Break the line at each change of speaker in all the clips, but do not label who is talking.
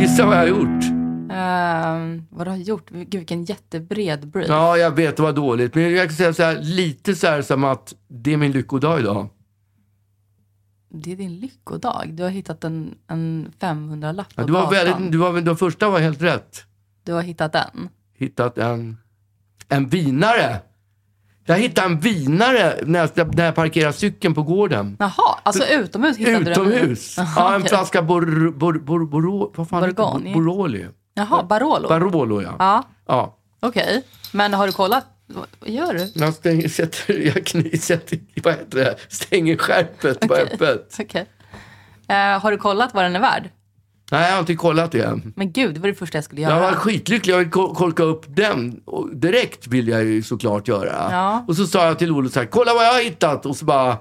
Gissa vad jag har gjort?
Ehm, vad du har gjort? Gud, vilken jättebred brief.
Ja, jag vet, det var dåligt. Men jag kan säga så här, lite så här som att det är min lyckodag idag.
Det är din lyckodag. Du har hittat en, en 500-lapp på
Ja, du, var
gatan.
väldigt, du var, den första var helt rätt.
Du har hittat den.
Hittat en, en vinare. Jag hittade en vinare när jag, när jag parkerade cykeln på gården.
Jaha, alltså utomhus hittade du den?
Utomhus. Ja, en
okej.
flaska bor, bor, bor, bor, vad fan heter
Borgoni.
det? Boroli.
Jaha, Barolo?
Barolo, ja.
ja,
ja.
okej. Men har du kollat? Vad gör du?
Jag stänger, sätter, jag kny, sätter, vad heter det? Stänger skärpet på öppet.
Okej. Eh, har du kollat vad den är värd?
Nej, jag har inte kollat det än.
Men gud, det var det första jag skulle göra.
Jag var skitlycklig. Jag vill ko- kolka upp den. Och direkt vill jag ju såklart göra.
Ja.
Och så sa jag till Olof så här, kolla vad jag har hittat. Och så bara,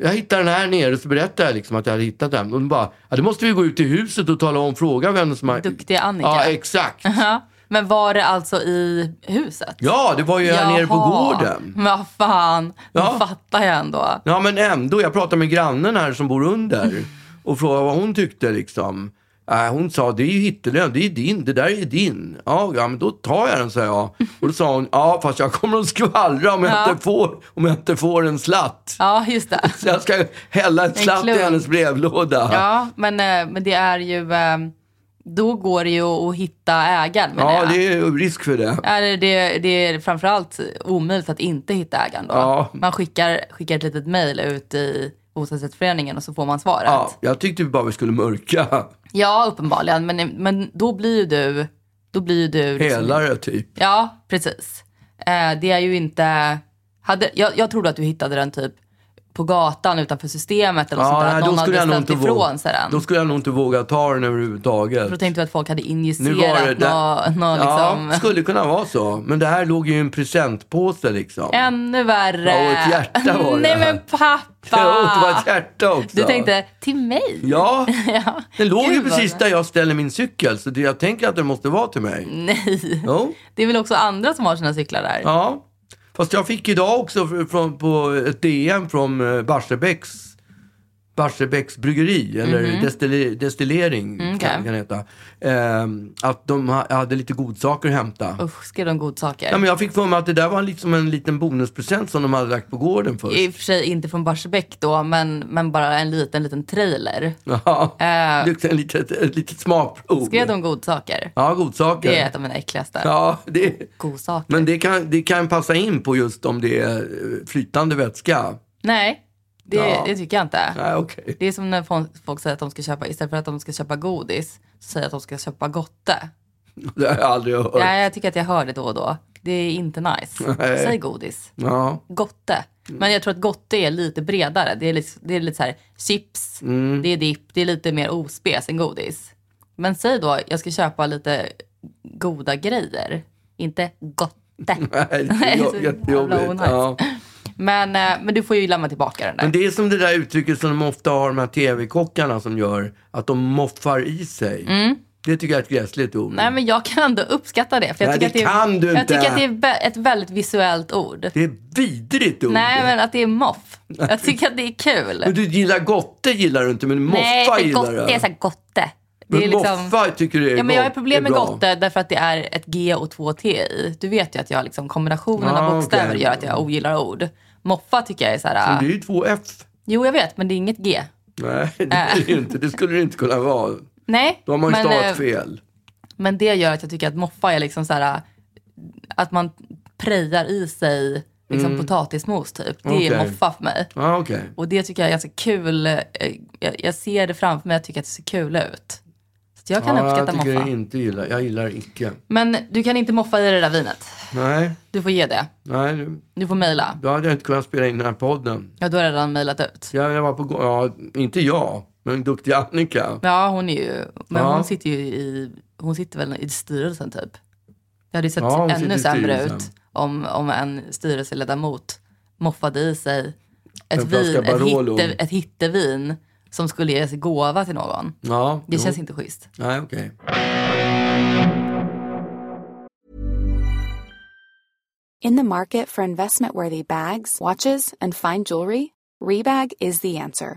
jag hittade den här nere. Så berättade jag liksom att jag hade hittat den. Och de bara, ja, då måste vi gå ut till huset och tala om, fråga vem som har...
Duktiga Annika.
Ja, exakt.
Ja. Men var det alltså i huset?
Ja, det var ju här nere på
Jaha.
gården.
Men vad fan,
Ja.
då fattar jag ändå.
Ja, men ändå. Jag pratade med grannen här som bor under och frågade vad hon tyckte. Liksom. Äh, hon sa, det är ju hittelön, det är din, det där är din. Ja, ja, men då tar jag den, sa jag. Och då sa hon, ja, fast jag kommer att skvallra om jag,
Ja.
inte, får, om jag inte får en slatt.
Ja, just det.
Så jag ska hälla en slatt i
klump.
hennes brevlåda.
Ja, men, eh, men det är ju... eh, Då går det ju att hitta ägaren, menar
Ja,
jag.
det är ju risk för det.
Eller det, det är framförallt omöjligt att inte hitta ägaren då.
Ja.
Man skickar, skickar ett litet mejl ut i bostadsrättsföreningen och så får man svaret.
Ja,
Ja,
jag tyckte vi bara vi skulle
Liksom.
mörka.
uppenbarligen. Men, men då blir ju du... Då blir ju du liksom-
Hälare, typ.
Ja, precis. Eh, det är ju inte... Hade, jag, jag trodde att du hittade den typ på gatan utanför systemet eller något sånt
Ja,
där.
nej,
Att
då,
Någon
skulle
hade
jag nog
ställt
inte våga,
ifrån sig den.
då skulle jag nog inte våga ta den
För Då
överhuvudtaget.
tänkte vi att folk hade
Nu var det
injicerat
där.
någon nå, liksom...
Ja, skulle kunna vara så. Men det här låg ju i en presentpåse liksom.
Ännu värre.
Ja, och ett hjärta var det.
Nej men pappa.
Ja, det var ett hjärta också.
Du tänkte, till mig?
Ja,
Ja.
den låg ju
Gud, vad
precis
det-
där jag ställer min cykel. Så det, jag tänker att den måste vara till mig.
Nej.
Jo,
Det är väl också andra som har sina cyklar där?
ja. Fast jag fick idag också fr- från, på ett DM från eh, Barsebäcks Barsebäcks bryggeri, eller destilleri- destillering
Mhm. Mm,
kan,
okej.
kan det heta. Ehm, att de ha, hade lite godsaker att hämta.
Usch, skrev de godsaker?
Ja, men jag fick för mig att det där var liksom en liten bonuspresent som de hade lagt på gården först.
I och för sig inte från Barsebäck då, men, men bara en liten, liten trailer.
Ja,
Eh.
det är ett litet, ett litet smakprov.
Skrev de godsaker?
Ja, godsaker.
Det är ett av mina äckligaste.
Ja, det,
Godsaker.
men det kan, det kan passa in på just om det är eh, flytande vätska.
Nej, det,
Ja.
det tycker jag inte.
Nej, okej.
Det är som när folk, folk säger att de ska köpa, istället för att de ska köpa godis, så säger jag att de ska köpa gotte.
Det har jag aldrig hört.
Nej, jag tycker att jag hör det då och då. Det är inte nice.
Nej.
Säg godis.
Ja.
Gotte. Men jag tror att gotte är lite bredare. Det är lite, det är lite så här chips,
Mm.
det är dipp, det är lite mer ospec än godis. Men säg då, jag ska köpa lite goda grejer. Inte gotte.
Nej, det
Nej,
är
så
jo-
jävla
jättejobbigt.
onajs.
Ja.
Men, eh, men du får ju lämna tillbaka den
Men
där.
det är som det där uttrycket som de ofta har, de här tv-kockarna som gör, att de moffar i sig. Det tycker jag är ett gräsligt ord.
Mm. Nej, men jag kan ändå uppskatta det. För jag
Nej,
tycker
det
att det
kan
är,
du
Jag
inte.
tycker att det är vä- ett väldigt visuellt ord.
Det är ett vidrigt ord.
Nej, men att det är moff. Jag tycker att det är kul.
Men du gillar gotte gillar du inte, men moffa
Nej, för
gillar
gott,
du.
det är så här gotte. Det
men
är liksom...
moffa tycker du är
Ja, men jag har problem
är
med
bra.
gotte därför att det är ett G och två T i. Du vet ju att jag liksom kombinationen
Ah,
av bokstäver
okej.
gör att jag ogillar ord. Moffa tycker jag är så
Men
här... ah,
det är ju två F.
Jo, jag vet, men det är inget G.
Nej, det, är det inte. det skulle det inte kunna vara.
Nej,
Då har man ju
Äh. men,
stavat
eh,
fel.
men det gör att jag tycker att moffa är liksom så här... Att man prejar i sig liksom potatismos typ. Det är
Mm. Okej.
moffa för mig.
Ja, ah, okej.
Och det tycker jag är ganska kul. eh, Jag, jag ser det framför mig, jag tycker att det ser kul ut. Så att jag kan
Ja, jag
uppskatta
tycker jag
moffa.
inte gillar. Jag gillar icke.
Men du kan inte moffa i det där vinet.
Nej,
Du får ge det.
nej,
Du får mejla.
då hade jag inte kunnat spela in den här podden.
Ja, du har redan mejlat ut.
Jag, jag var på gå- ja, inte jag, men duktiga Annika.
Ja, hon är ju... Men
Ja.
hon sitter ju i... Hon sitter väl i styrelsen typ. Det hade ju sett
Ja, hon sitter
ännu
i
sämre
styrelsen.
ut om, om en styrelseledamot moffade i sig ett
En flaska
vin, ett,
Barolo.
hitte, ett hittevin som skulle ges i gåva till någon.
Ja,
Det
jo.
känns inte schysst.
Nej, okej.
In the market for investment worthy bags, watches, and fine jewelry, Rebag is the answer.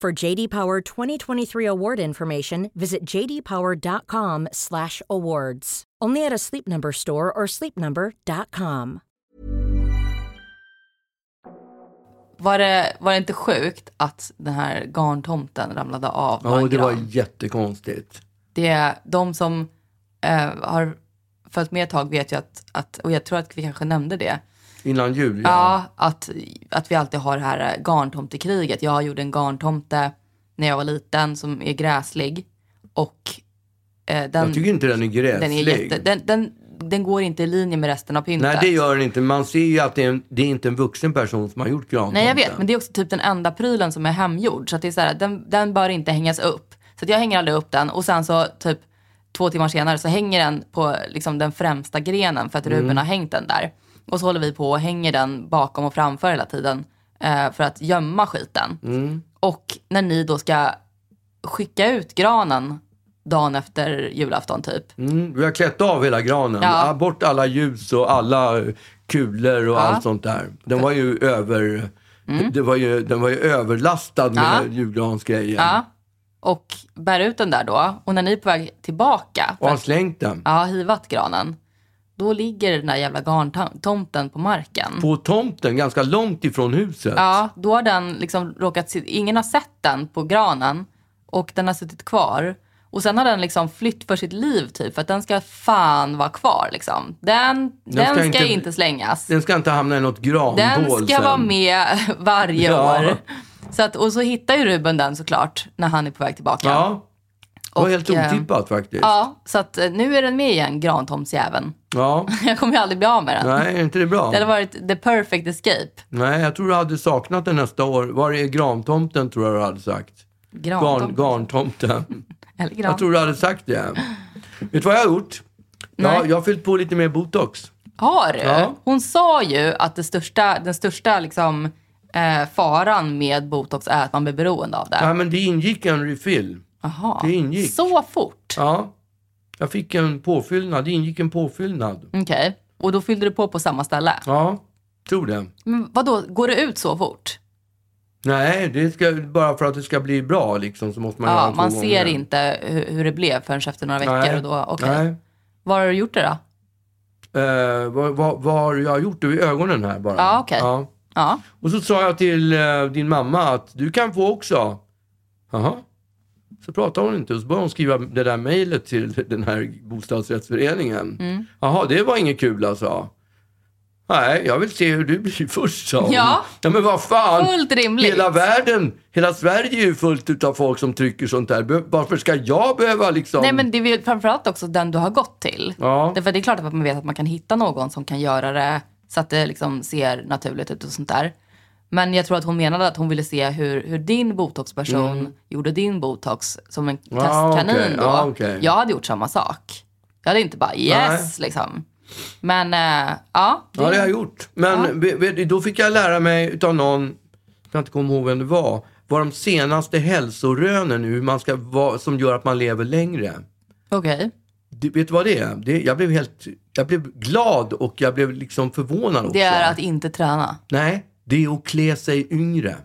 For JD Power 2023 award information, visit jdpower.com/awards. Only at a Sleep Number store or sleepnumber.com.
Var det, var det inte sjukt att den här garntomten ramlade av?
Ja,
en
det var
gran?
jättekonstigt.
det är de som eh, har följt med ett tag vet ju att, att, och jag tror att vi kanske nämnde det,
Innan jul, ja.
ja, att, att vi alltid har det här eh, garntomtekriget. Jag gjorde en garntomte när jag var liten som är gräslig och eh, den,
Jag tycker inte den är gräslig.
den, är jätte, den, den, den går inte i linje med resten av pyntet.
Nej, det gör den inte. Man ser ju att det är, en, det är inte en vuxen person som har gjort grantomten.
Nej jag vet, men det är också typ den enda prylen som är hemgjord. Så att det är så här, den, den bör inte hängas upp. Så att jag hänger aldrig upp den och sen så typ två timmar senare så hänger den på liksom den främsta grenen för att Ruben har hängt den där. Och så håller vi på och hänger den bakom och framför hela tiden eh, för att gömma skiten. Och när ni då ska skicka ut granen dagen efter julafton typ.
Mm, vi har klätt av hela granen.
Ja.
Ah, Bort alla ljus och alla kulor och
Ja. Mm.
allt sånt där. Den var ju över... Det var ju, den var ju överlastad med
Ja.
julgransgrejer.
Ja. Och bär ut den där då. Och när ni är på väg tillbaka.
Och har slängt den.
ja, hivat granen. Då ligger den där jävla garntomten på marken.
På tomten, ganska långt ifrån huset.
Ja, då har den liksom råkat, sit- ingen har sett den på granen och den har suttit kvar. Och sen har den liksom flytt för sitt liv typ för att den ska fan vara kvar liksom. Den, den ska,
ska
inte,
inte-
slängas.
Den ska inte hamna i något granbål
Den ska
sen.
vara med varje
Ja.
år. Så att, och så hittar ju Ruben den såklart när han är på väg tillbaka.
Ja. Det var
Och,
helt
eh,
otippat faktiskt.
Ja, så att eh, nu är den med igen, grantomsjäveln.
Ja.
Jag kommer ju aldrig bli av med den.
Nej, är inte det bra?
Det hade varit the perfect escape.
Nej, jag tror du hade saknat den nästa år. Var är grantomten, tror jag du hade sagt. Garn,
Grantomt.
garntomten.
Eller gran.
Jag tror du hade sagt det. Vet du vad jag har gjort? Jag,
Nej.
jag har fyllt på lite mer botox.
Har du?
Ja.
Hon sa ju att det största, den största liksom, eh, faran med botox är att man blir beroende av det.
Ja, men det ingick en refill.
Jaha.
det ingick.
Så fort?
Ja. Jag fick en påfyllnad. Det ingick en påfyllnad.
Okej. Och då fyllde du på på samma ställe?
Ja, tror det.
Men vadå, går det ut så fort?
Nej, det ska, bara för att det ska bli bra liksom, så måste man göra
Ja,
två
man
gånger.
ser inte hur, hur det blev förrän efter några veckor.
Nej.
Och då, okej.
Nej.
Var har du gjort det då?
Eh, vad, vad, vad har jag gjort? Du i ögonen här bara.
Ja, okej.
Ja.
Ja.
Och så sa jag till eh, din mamma att du kan få också. Jaha. Så pratade hon inte och så började hon skriva det där mejlet till den här bostadsrättsföreningen.
Mm.
Jaha, det var inget kul alltså. Nej, jag vill se hur du blir först sa hon.
Ja.
ja men vad fan.
Fullt rimligt.
Hela världen, hela Sverige är ju fullt utav folk som trycker sånt där. Be- Varför ska jag behöva liksom...
Nej men det är väl framförallt också den du har gått till.
Ja.
Därför att det är klart att man vet att man kan hitta någon som kan göra det så att det liksom ser naturligt ut och sånt där. Men jag tror att hon menade att hon ville se hur, hur din botoxperson gjorde din botox som en testkanin
Mm. Ah, okej.
då.
Ja, okej.
Jag hade gjort samma sak. Jag hade inte bara yes liksom. Men eh, ja.
Ja, det har jag gjort. Men ve- ve- då fick jag lära mig utav någon, jag inte kommer ihåg vem det var, var de senaste hälsorönen hur man ska vara, som gör att man lever längre.
Okej.
Det, vet du vad det är? Det, jag blev helt, jag blev glad och jag blev liksom förvånad också.
Det är att inte träna.
Nej, det är att klä sig yngre.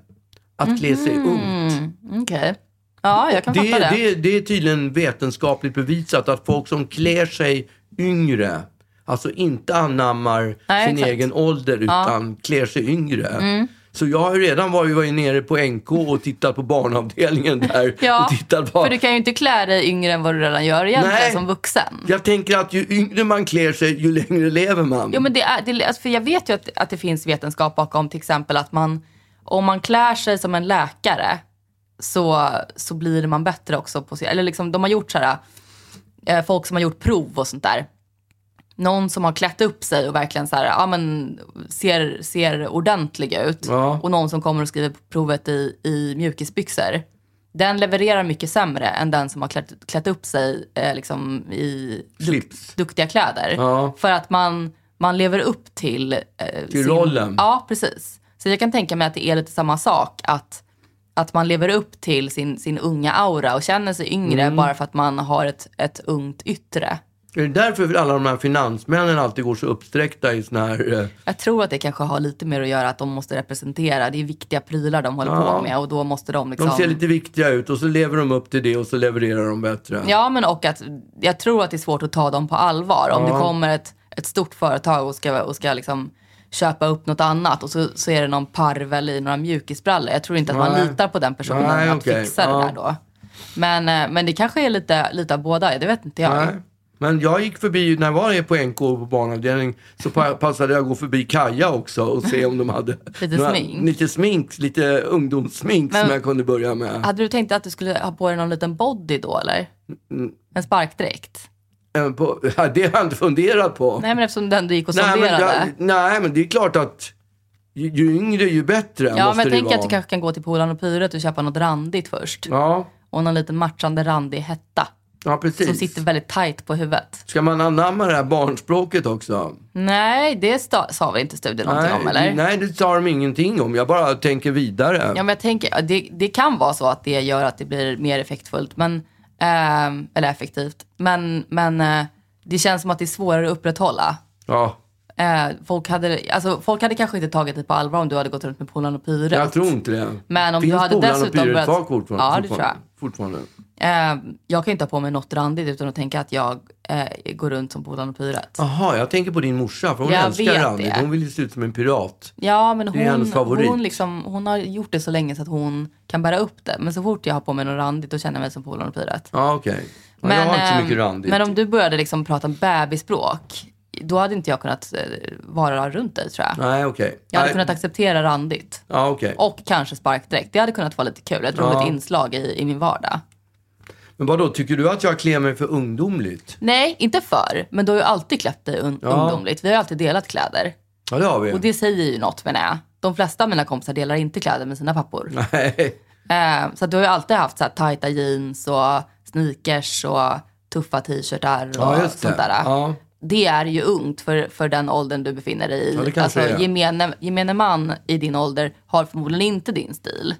Att klä sig
Mhm.
ungt.
Okej. Ja, jag kan
Det,
fatta det.
det, det är tydligen vetenskapligt bevisat att folk som klär sig yngre, alltså inte anammar
Nej,
sin
exakt.
egen ålder utan klär sig yngre, Så jag har ju redan varit, varit nere på NK och tittat på barnavdelningen där.
Ja,
och tittat på...
för du kan ju inte klä dig yngre än vad du redan gör egentligen
Nej.
som vuxen.
Jag tänker att ju yngre man klär sig, ju längre lever man.
Jo, men det är, det, alltså, för jag vet ju att, att det finns vetenskap bakom till exempel att man, om man klär sig som en läkare så, så blir man bättre också på sig. Eller liksom, de har gjort så här, eh, folk som har gjort prov och sånt där. Någon som har klätt upp sig och verkligen så här, ja, men, ser, ser ordentlig ut.
Ja.
Och någon som kommer och skriver provet i, i mjukisbyxor. Den levererar mycket sämre än den som har klätt, klätt upp sig eh, liksom i
Slips.
duktiga kläder.
Ja.
För att man, man lever upp till... eh, sin-
rollen.
Ja, precis. Så jag kan tänka mig att det är lite samma sak. Att, att man lever upp till sin, sin unga aura och känner sig yngre
Mm.
bara för att man har ett, ett ungt yttre.
Är det därför vill alla de här finansmännen alltid går så uppsträckta i såna här... eh,
Jag tror att det kanske har lite mer att göra att de måste representera. Det är viktiga prylar de håller på med och då måste de liksom...
De ser lite viktiga ut och så lever de upp till det och så levererar de bättre.
Ja, men och att jag tror att det är svårt att ta dem på allvar. Om det kommer ett, ett stort företag och ska, och ska liksom köpa upp något annat och så, så är det någon parvel i några mjukisbrallor. Jag tror inte att man
Nej.
litar på den personen
Nej,
att
okej.
fixa det
Ja.
där då. Men, eh, men det kanske är lite, lite av båda, det vet inte jag.
Nej. Men jag gick förbi, när jag var på NK på barnavdelningen, så pa- passade jag att gå förbi Kaja också och se om de hade
Lite smink.
lite smink, lite ungdomssmink
Men-
som jag kunde börja med.
Hade du tänkt att du skulle ha på dig någon liten body då eller?
Mm.
En sparkdräkt?
Eh, På, det har jag inte funderat på.
Nej men eftersom den du gick och sonderade.
men, jag- nej, men det är klart att ju, ju yngre ju bättre
ja
måste
men
det
tänk
vara.
att du kanske kan gå till Polarn och Pyret och köpa något randigt först.
Ja,
Och någon liten matchande randig hetta.
ja
Som
precis.
sitter väldigt tight på huvudet.
Ska man anamma det här barnspråket också?
Nej, det sta- sa väl inte studien någonting om eller?
nej, nej, det sa de ingenting om. Jag bara tänker vidare.
Ja, men jag tänker, ja, det, det kan vara så att det gör att det blir mer effektfullt, men, ehm, eller effektivt. Men, men eh, det känns som att det är svårare att upprätthålla.
Ja,
Eh, folk, hade, alltså, folk hade kanske inte tagit dig på allvar om du hade gått runt med Polarn och Pyret.
jag tror inte det.
Men om
Finns
du hade
Polarn och
dessutom
Pyret
börjat-
kvar fortfarande?
Ja, det tror jag.
Fortfarande.
Eh, jag kan ju inte ha på mig något randigt utan att tänka att jag eh, går runt som Polarn och Pyret.
Jaha, jag tänker på din morsa, för hon
Jag vet
älskar Randy.
det.
Hon vill ju se ut som en pirat.
Ja, men
är hennes
hon,
favorit.
hon, liksom, hon har gjort det så länge så att hon kan bära upp det. Men så fort jag har på mig något randigt då känner jag mig som Polarn och Pyret.
Ja, okej. Ja, jag har inte så
ehm,
mycket randigt.
men om du började liksom prata bebisspråk, då hade inte jag kunnat eh, vara runt dig tror jag.
Nej, okej.
Jag hade
Nej.
kunnat acceptera randigt.
Ja, okej.
Och kanske sparkdräkt. Det hade kunnat vara lite kul. Ett roligt inslag i, i min vardag.
Men vadå, tycker du att jag klär mig för ungdomligt?
Nej, inte förr. Men du har ju alltid klätt dig un- ungdomligt. Vi har ju alltid delat kläder.
Ja, det har vi.
Och det säger ju något menar jag. De flesta av mina kompisar delar inte kläder med sina pappor.
Nej.
Eh, så att du har ju alltid haft så här tajta jeans och sneakers och tuffa t-shirtar och
Ja, just
sånt
det.
där.
Ja.
Det är ju ungt för, för den åldern du befinner dig i. Alltså,
Ja, det kanske är.
gemene, gemene man i din ålder har förmodligen inte din stil.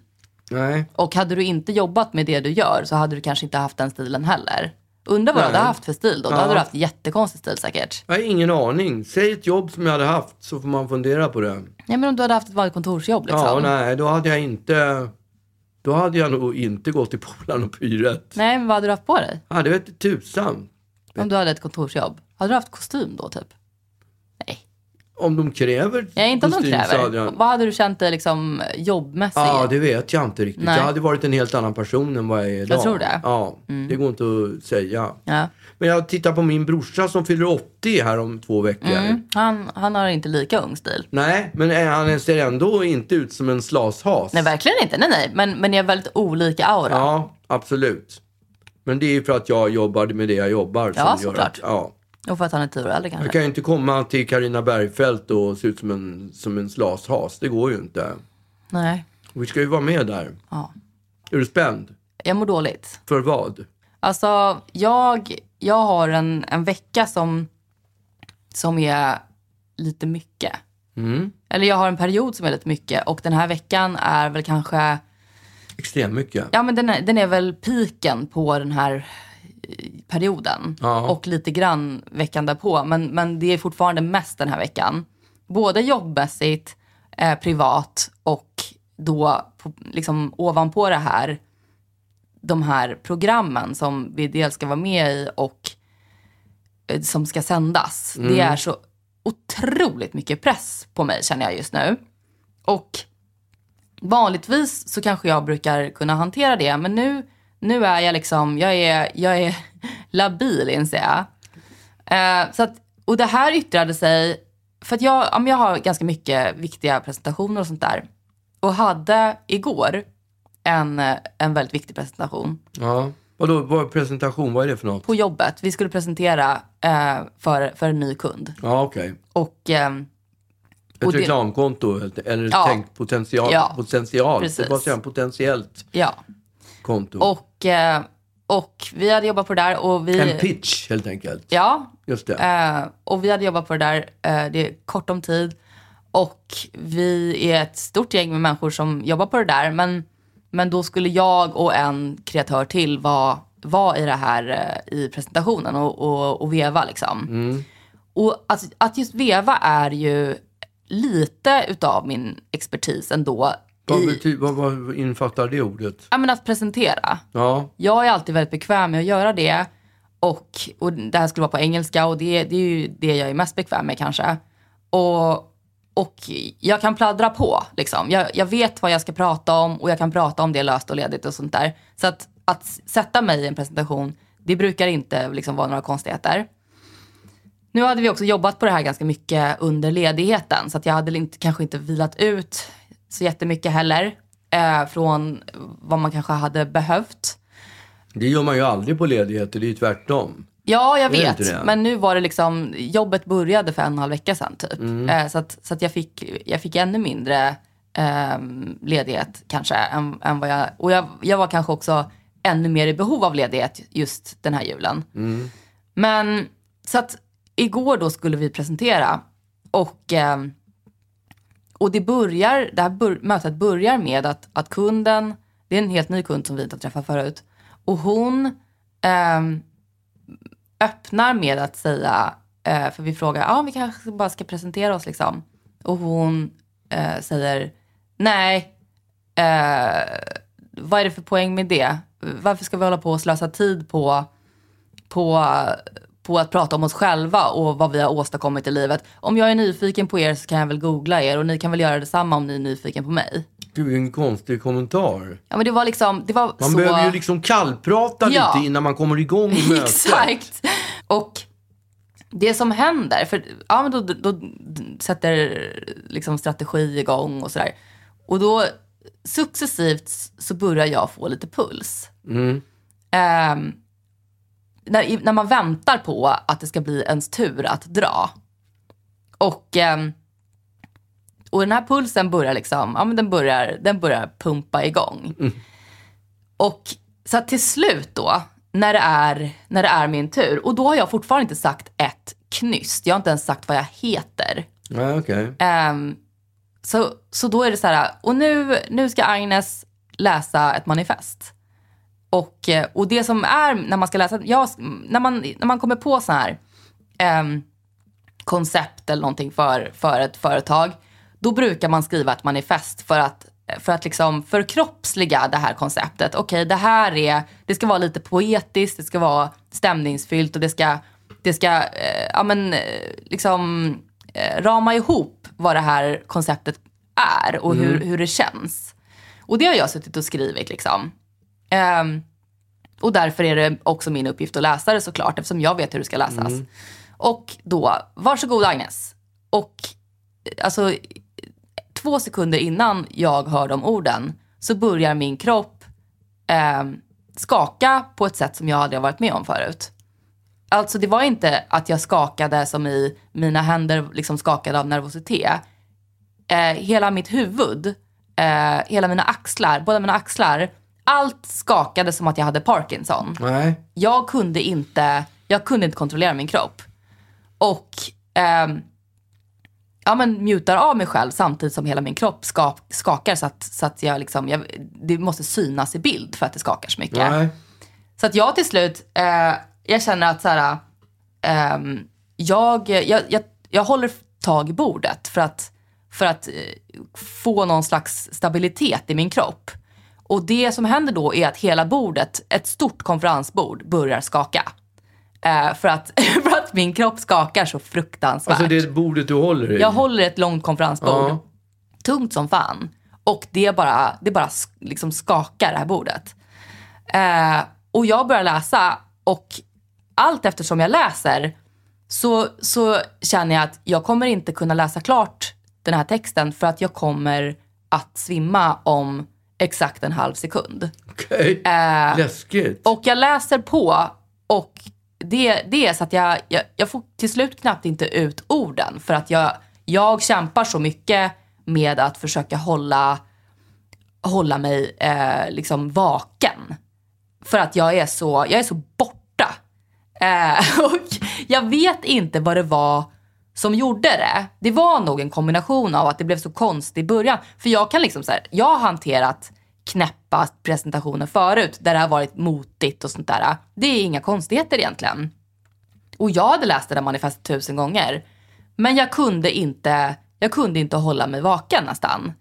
Nej.
Och hade du inte jobbat med det du gör så hade du kanske inte haft den stilen heller. Undrar vad du
Nej.
hade haft för stil då? Då
Ja.
hade du haft jättekonstig stil säkert.
Jag har ingen aning. Säg ett jobb som jag hade haft så får man fundera på det.
Ja men om du hade haft ett vanligt kontorsjobb liksom.
Ja, nej, då hade jag inte... Då hade jag nog inte gått till Polarn och Pyret.
Nej, men vad hade du haft på dig?
Ja, det vete tusan.
Om du hade ett kontorsjobb. Hade du haft kostym då typ? Nej.
Om de kräver
Ja, inte om de
kostym så hade
kräver.
jag-
Vad hade du känt dig liksom jobbmässigt?
Ja, det vet jag inte riktigt.
Nej.
Jag hade varit en helt annan person än vad jag är idag.
tror det. Mm.
Ja, det går inte att säga.
Ja.
Men jag tittar på min brorsa som fyller 80 här om två veckor.
Mm. Han, han har inte lika ung stil.
Nej, men eh, han ser ändå inte ut som en slashas.
Nej, verkligen inte. Nej, nej. Men, men ni har väldigt olika aura.
Ja, absolut. Men det är ju för att jag jobbade med det jag jobbar.
Ja,
som gör
såklart.
att, ja.
Och för att han är tio år äldre kanske.
Jag kan ju inte komma till Karina Bergfeldt och se ut som en, som en slashas. Det går ju inte.
Nej.
Och Vi ska ju vara med där.
Ja.
Är du spänd?
Jag mår dåligt.
För vad?
Alltså, jag, jag har en, en vecka som, som är lite mycket.
Mm.
Eller jag har en period som är lite mycket. Och den här veckan är väl kanske...
Extremt mycket.
Ja, men den är, den är väl piken på den här eh, perioden.
Ja.
Och lite grann veckan därpå. Men, men det är fortfarande mest den här veckan. Både jobbmässigt, eh, privat och då på, liksom ovanpå det här de här programmen som vi dels ska vara med i och eh, som ska sändas. Det är så otroligt mycket press på mig känner jag just nu. Och vanligtvis så kanske jag brukar kunna hantera det. Men nu, nu är jag liksom, jag är, jag är labil inser jag. Eh, så att, och det här yttrade sig, för att jag, ja, men jag har ganska mycket viktiga presentationer och sånt där. Och hade igår en, eh, en väldigt viktig presentation
Ja. Vadå, vad presentation, vad är det för något?
på jobbet. Vi skulle presentera eh, för, för en ny kund.
Ja, okej.
Och ehm,
Ett
Och det-
reklamkonto helt- eller
Ja.
tänk potential.
Ja.
potential.
Precis.
Det var så här, potentiellt
ja,
konto.
och, eh, och vi hade jobbat på det där och vi...
En pitch helt enkelt.
Ja,
Just det.
Eh, och vi hade jobbat på det där, eh, det är kort om tid. Och vi är ett stort gäng med människor som jobbar på det där. Men, men då skulle jag och en kreatör till vara var i det här eh, i presentationen och, och, och veva liksom. Och att, att just veva är ju lite utav min expertis ändå.
vad,
I,
bety- vad, vad infattar det ordet?
ja, men att presentera.
Ja,
Jag är alltid väldigt bekväm med att göra det. Och, och det här skulle vara på engelska och det, det är ju det jag är mest bekväm med kanske. Och, och jag kan pladdra på. Liksom. Jag, jag vet vad jag ska prata om och jag kan prata om det löst och ledigt och sånt där. Så att, att sätta mig i en presentation, det brukar inte liksom vara några konstigheter. Nu hade vi också jobbat på det här ganska mycket under ledigheten så att jag hade inte, kanske inte vilat ut så jättemycket heller eh, från vad man kanske hade behövt.
det gör man ju aldrig på ledigheter. Det är ju tvärtom.
Ja, jag
Är det
vet.
inte det?
Men nu var det liksom, jobbet började för en och en halv vecka sedan typ.
Mm.
Eh, så att, så att jag, fick, jag fick ännu mindre ehm, ledighet kanske. Än, än vad jag, och jag, jag var kanske också ännu mer i behov av ledighet just den här julen.
Mm.
Men så att igår då skulle vi presentera och, ehm, och det, börjar, det här bör, mötet börjar med att, att kunden, det är en helt ny kund som vi inte har träffat förut, och hon ehm, öppnar med att säga, eh, för vi frågar, ja ah, vi kanske bara ska presentera oss liksom. Och hon eh, säger, nej, eh, vad är det för poäng med det? Varför ska vi hålla på och slösa tid på, på, på att prata om oss själva och vad vi har åstadkommit i livet? Om jag är nyfiken på er så kan jag väl googla er och ni kan väl göra detsamma om ni är nyfiken på mig.
Gud, vilken konstig kommentar.
Ja men det var liksom, det var
Man
så...
behöver ju liksom kallprata
Ja.
lite innan man kommer igång i mötet.
Exakt. Och det som händer, för ja, men då, då, då sätter liksom strategi igång och sådär. Och då successivt s- så börjar jag få lite puls. Ehm, när, i- när man väntar på att det ska bli ens tur att dra. Och, ehm, och den här pulsen börjar liksom, ja men den börjar, den börjar pumpa igång. Och så att till slut då, när det, är, när det är min tur, och då har jag fortfarande inte sagt ett knyst. Jag har inte ens sagt vad jag heter.
Ja, okej.
Ehm, så, så då är det så här, och nu, nu ska Agnes läsa ett manifest. Och, eh, och det som är när man ska läsa, ja, när, man, när man kommer på så här ehm, koncept eller någonting för, för ett företag, då brukar man skriva ett manifest för att, för att liksom förkroppsliga det här konceptet. Okej, det här är, det ska vara lite poetiskt, det ska vara stämningsfyllt och det ska, det ska eh, ja, men, eh, liksom, eh, rama ihop vad det här konceptet är och hur, hur det känns. Och det har jag suttit och skrivit liksom. Ehm, och därför är det också min uppgift att läsa det såklart eftersom jag vet hur det ska läsas. Och då, varsågod Agnes. Och eh, alltså två sekunder innan jag hör de orden så börjar min kropp eh, skaka på ett sätt som jag aldrig har varit med om förut. Alltså det var inte att jag skakade som i mina händer liksom skakade av nervositet. Eh, hela mitt huvud, eh, hela mina axlar, båda mina axlar. Allt skakade som att jag hade Parkinson
Nej.
jag kunde inte, jag kunde inte kontrollera min kropp. Och ehm, ja, men mutar av mig själv samtidigt som hela min kropp ska, skakar så att, så att jag liksom, jag, det måste synas i bild för att det skakar så mycket.
Nej.
Så att jag till slut, eh, jag känner att så här, ehm, jag, jag, jag, jag håller tag i bordet för att, för att eh, få någon slags stabilitet i min kropp. Och det som händer då är att hela bordet, ett stort konferensbord, börjar skaka. Eh, för, att, för att min kropp skakar så fruktansvärt.
Alltså det är bordet du håller i.
Jag håller ett långt konferensbord.
Ja.
Tungt som fan. Och det bara, det bara sk- liksom skakar det här bordet. Eh, och jag börjar läsa och allt eftersom jag läser så, så känner jag att jag kommer inte kunna läsa klart den här texten för att jag kommer att svimma om exakt en halv sekund.
Okej. Läskigt.
Eh, Och jag läser på och det, det är så att jag, jag, jag får till slut knappt inte ut orden för att jag, jag kämpar så mycket med att försöka hålla, hålla mig eh, liksom vaken. För att jag är så, jag är så borta. Eh, och jag vet inte vad det var som gjorde det. Det var nog en kombination av att det blev så konstigt i början. För jag kan liksom så här, jag har hanterat knäppa presentationer förut där det har varit motigt och sånt där. Det är inga konstigheter egentligen. Och jag hade läst det där manifestet tusen gånger. Men jag kunde inte, jag kunde inte hålla mig vaken nästan.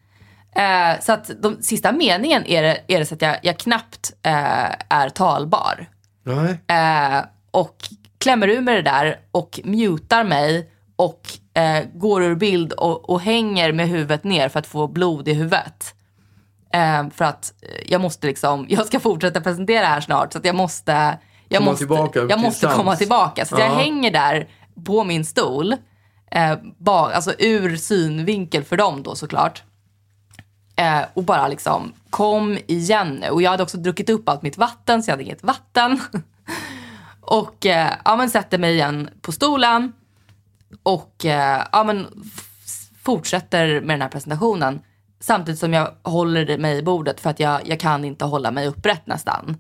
Eh, så att de sista meningen är det, är det så att jag, jag knappt eh, är talbar.
Nej.
Eh, och klämmer ur mig det där och mutar mig och eh, går ur bild och, och hänger med huvudet ner för att få blod i huvudet. Eh, för att eh, jag måste liksom, jag ska fortsätta presentera här snart så att jag måste, jag
Komma
måste,
tillbaka
jag
till
måste
sans.
komma tillbaka. Så att jag
Ja.
hänger där på min stol, eh, ba, alltså ur synvinkel för dem då såklart. Eh, och bara liksom, kom igen nu. Och jag hade också druckit upp allt mitt vatten, så jag hade inget vatten. och eh, ja, men sätter mig igen på stolen och eh, ja, men f- fortsätter med den här presentationen. Samtidigt som jag håller mig i bordet för att jag, jag kan inte hålla mig upprätt nästan.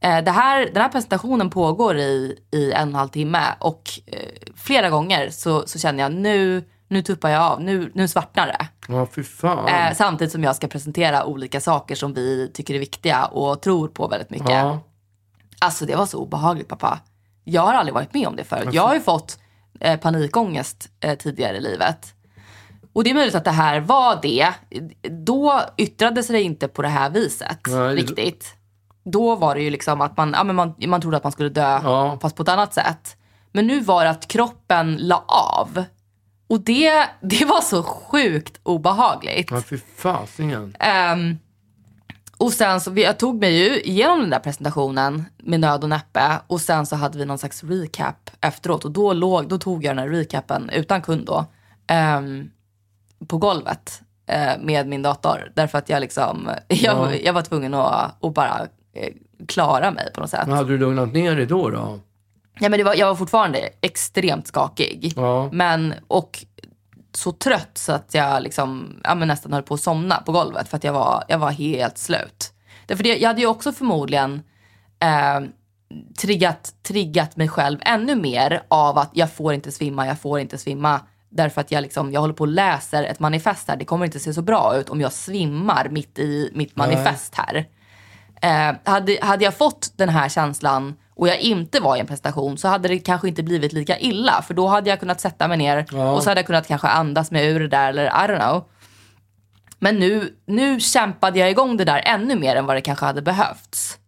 Eh, det här, den här presentationen pågår i, i en och en halv timme och eh, flera gånger så, så känner jag nu, nu tuppar jag av, nu, nu svartnar det.
Ja, fy fan.
Eh, samtidigt som jag ska presentera olika saker som vi tycker är viktiga och tror på väldigt mycket.
ja.
Alltså det var så obehagligt pappa. Jag har aldrig varit med om det förut. Jag har ju fått eh, panikångest eh, tidigare i livet. Och det är möjligt att det här var det. Då yttrades det inte på det här viset
Nej.
riktigt. Då var det ju liksom att man, ja, men man, man trodde att man skulle dö
Ja.
fast på ett annat sätt. Men nu var det att kroppen la av. Och det, det var så sjukt obehagligt.
ja, fy fasingen.
Ehm, och sen så, vi- jag tog mig ju igenom den där presentationen med nöd och näppe och sen så hade vi någon slags recap efteråt och då, låg, då tog jag den här recapen utan kund då ehm, på golvet eh, med min dator därför att jag liksom, jag, jag var tvungen att, att bara eh, klara mig på något sätt.
Men hade du lugnat ner dig då? då?
Ja, men det var, jag var fortfarande extremt skakig.
Ja.
Men, och så trött så att jag liksom, ja, men nästan höll på att somna på golvet för att jag var, jag var helt slut. Därför det, jag hade ju också förmodligen eh, triggat, triggat mig själv ännu mer av att jag får inte svimma, jag får inte svimma. Därför att jag, liksom, jag håller på och läser ett manifest här. Det kommer inte se så bra ut om jag svimmar mitt i mitt manifest här. Eh, hade, hade jag fått den här känslan och jag inte var i en prestation så hade det kanske inte blivit lika illa. För då hade jag kunnat sätta mig ner och så hade jag kunnat kanske andas mig ur det där eller I don't know. Men nu, nu kämpade jag igång det där ännu mer än vad det kanske hade behövts.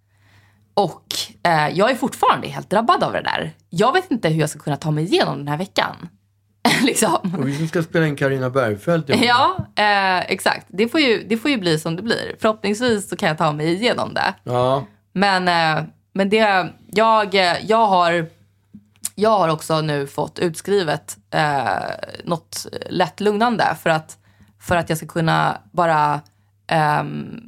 Och eh, jag är fortfarande helt drabbad av det där. Jag vet inte hur jag ska kunna ta mig igenom den här veckan. liksom.
Och vi som ska spela in Karina Bergfeldt. i morgon.
Ja, eh, exakt. Det får, ju, det får ju bli som det blir. Förhoppningsvis så kan jag ta mig igenom det.
ja.
Men, eh, men det, jag, eh, jag, har, jag har också nu fått utskrivet eh, något lätt lugnande för att, för att jag ska kunna bara ehm,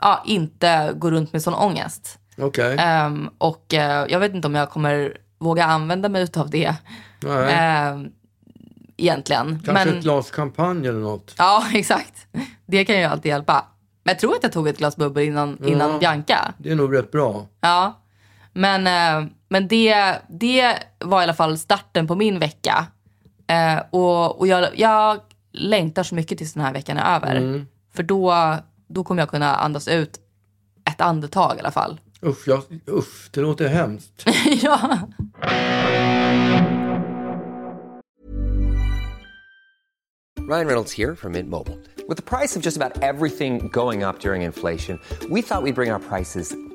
ja, inte gå runt med sån ångest.
Okej.
Ehm, och eh, jag vet inte om jag kommer våga använda mig av det
Nej.
ehm, egentligen.
Kanske
men,
ett glas champagne eller något.
Ja, exakt. Det kan ju alltid hjälpa. Men jag tror att jag tog ett glas bubbel innan, innan
Ja.
Bianca.
Det är nog rätt bra.
Ja. Men, eh, men det, det var i alla fall starten på min vecka. Eh, och och jag, jag längtar så mycket tills den här veckan är över.
Mm.
För då, då kommer jag kunna andas ut ett andetag i alla fall.
Usch, jag, usch det låter hemskt.
ja.
Ryan Reynolds here from Mint Mobile. With the price of just about everything going up during inflation, we thought we'd bring our prices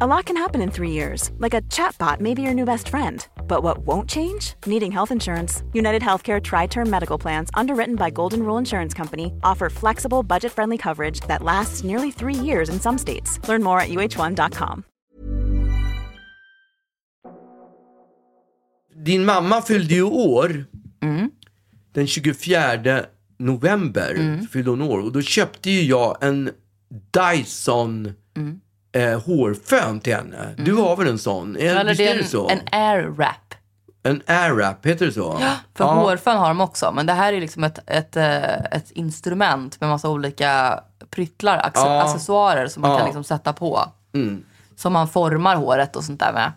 A lot can happen in three years, like a chatbot may be your new best friend. But what won't change? Needing health insurance. United Healthcare Tri Term Medical Plans, underwritten by Golden Rule Insurance Company, offer flexible, budget friendly coverage that lasts nearly three years in some states. Learn more at uh1.com.
Din mamma fyllde ju år
Mm.
den 24 november.
Mm.
Fyllde hon år. Och då köpte ju jag en Dyson
Mm.
eh, hårfön till henne. Du har väl en sån? Är,
Eller
visst
det
är
är
det så?
en, en air wrap.
En airwrap, heter det så?
För hårfön har de också. Men det här är liksom ett, ett, eh, ett instrument med massa olika pryttlar, acce- accessoarer som man kan liksom sätta på.
Mm.
Som man formar håret och sånt där med.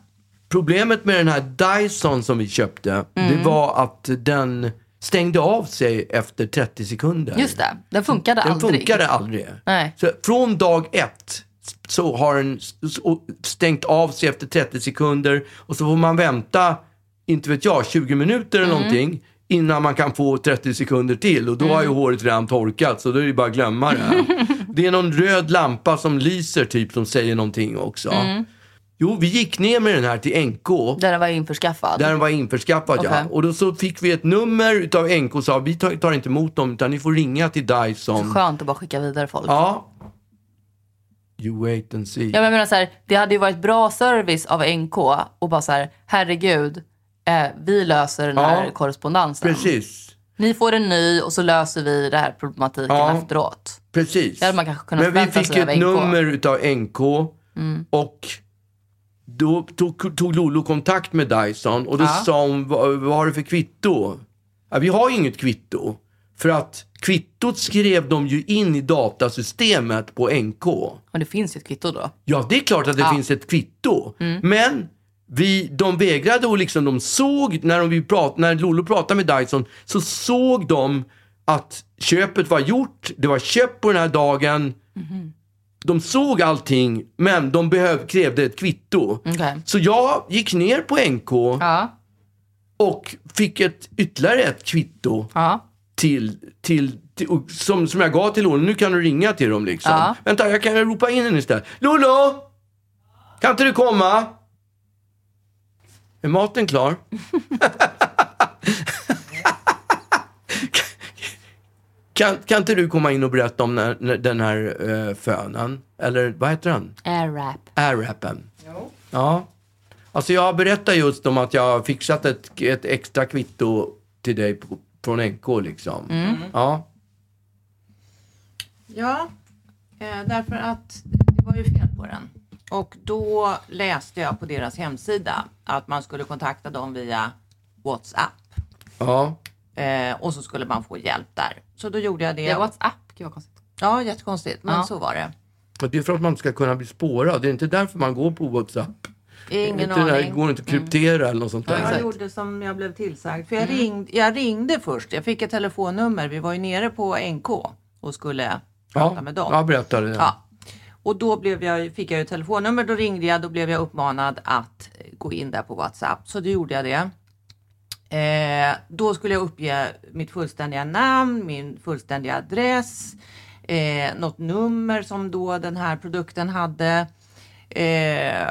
Problemet med den här Dyson som vi köpte,
Mm.
det var att den stängde av sig efter 30 sekunder.
Just det, den funkade
Den
aldrig.
funkade aldrig.
Nej.
Så från dag ett så har den s- så- stängt av sig efter 30 sekunder och så får man vänta, inte vet jag, 20 minuter
Mm.
eller någonting innan man kan få 30 sekunder till och då har ju
Mm.
håret redan torkat så då är det bara att glömma det. det är någon röd lampa som lyser typ som säger någonting också.
Mm.
Jo, vi gick ner med den här till NK.
Där den var införskaffad.
Där den var införskaffad
Okej.
ja. Och då så fick vi ett nummer utav NK och sa vi tar, tar inte emot dem utan ni får ringa till Dyson.
Skönt att bara skicka vidare folk.
Ja. You wait and see.
Ja, men jag menar så här, det hade ju varit bra service av NK och bara så här, herregud, eh, vi löser den här
Ja.
korrespondensen.
Precis.
Ni får en ny och så löser vi den här problematiken
Ja.
efteråt.
Precis.
Det hade man kanske kunnat
Men vi
förvänta
fick
sig av
ett
NK.
nummer utav NK
Mm.
och då tog, tog Lolo kontakt med Dyson och då sa hon, "Vad- vad har du för kvitto? Ja, vi har inget kvitto. För att kvittot skrev de ju in i datasystemet på NK.
Men det finns ju ett kvitto då.
Ja, det är klart att det finns ett kvitto. Men vi, de vägrade och liksom de såg, när, de, vi prat, när Lolo pratade med Dyson, så såg de att köpet var gjort, det var köpt på den här dagen. De såg allting, men de behöv, krävde ett kvitto.
Okej.
Så jag gick ner på NK
Ja,
och fick ett, ytterligare ett kvitto
ja.
till, till, till och som, som jag gav till Lolo. Nu kan du ringa till dem liksom.
Ja.
Vänta, jag kan ropa in henne istället. Lolo! Kan inte du komma? Är maten klar? kan, kan inte du komma in och berätta om när, när, den här uh, fönen? Eller vad heter den?
Airwrap.
Airrappen. Ja. Alltså jag berättar just om att jag har fixat ett, ett extra kvitto till dig på, från NK liksom.
Mm.
Ja.
Ja, eh, därför att det var ju fel på den. Och då läste jag på deras hemsida att man skulle kontakta dem via WhatsApp.
Ja.
Eh, och så skulle man få hjälp där. Så då gjorde jag det.
Ja, WhatsApp. Gud vad konstigt.
Ja, jättekonstigt. Men så var det.
Och det är för att man ska kunna bli spårad. Det är inte därför man går på WhatsApp.
Ingen
det där
aning. Mm.
går inte att kryptera eller något sånt där.
Jag gjorde som jag blev tillsagd. För jag, ringde, jag ringde först. Jag fick ett telefonnummer. Vi var ju nere på NK och skulle prata
Ja,
med dem.
jag berättade det.
Ja. Och då blev jag, fick jag ju ett telefonnummer, då ringde jag, då blev jag uppmanad att eh, gå in där på WhatsApp. Så då gjorde jag det. Eh, då skulle jag uppge mitt fullständiga namn, min fullständiga adress, eh, något nummer som då den här produkten hade, eh, eh,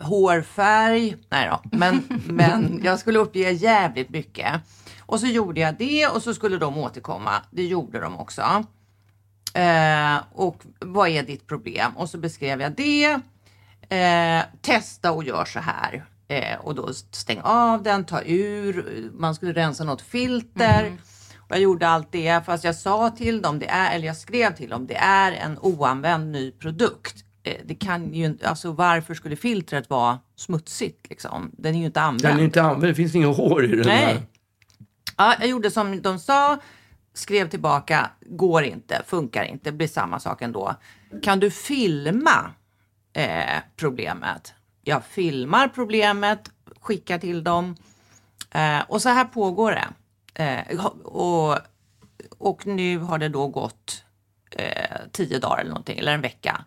hårfärg. Nej då, men, men jag skulle uppge jävligt mycket. Och så gjorde jag det och så skulle de återkomma. Det gjorde de också. Eh, och vad är ditt problem? Och så beskrev jag det. Eh, testa och gör så här. Eh, och då stäng av den, ta ur, man skulle rensa något filter.
Mm.
Och jag gjorde allt det fast jag sa till dem, det är, eller jag skrev till dem, det är en oanvänd ny produkt. Eh, Det kan ju inte, alltså varför skulle filtret vara smutsigt liksom? Den är ju inte använd.
Den är inte använd. Det finns inga hår i den där.
Nej. Ja, jag gjorde som de sa, skrev tillbaka, går inte, funkar inte, blir samma sak ändå. Kan du filma eh, problemet? Jag filmar problemet, skickar till dem. Eh, och så här pågår det. Eh, ha- och, och nu har det då gått eh, tio dagar eller någonting, eller en vecka.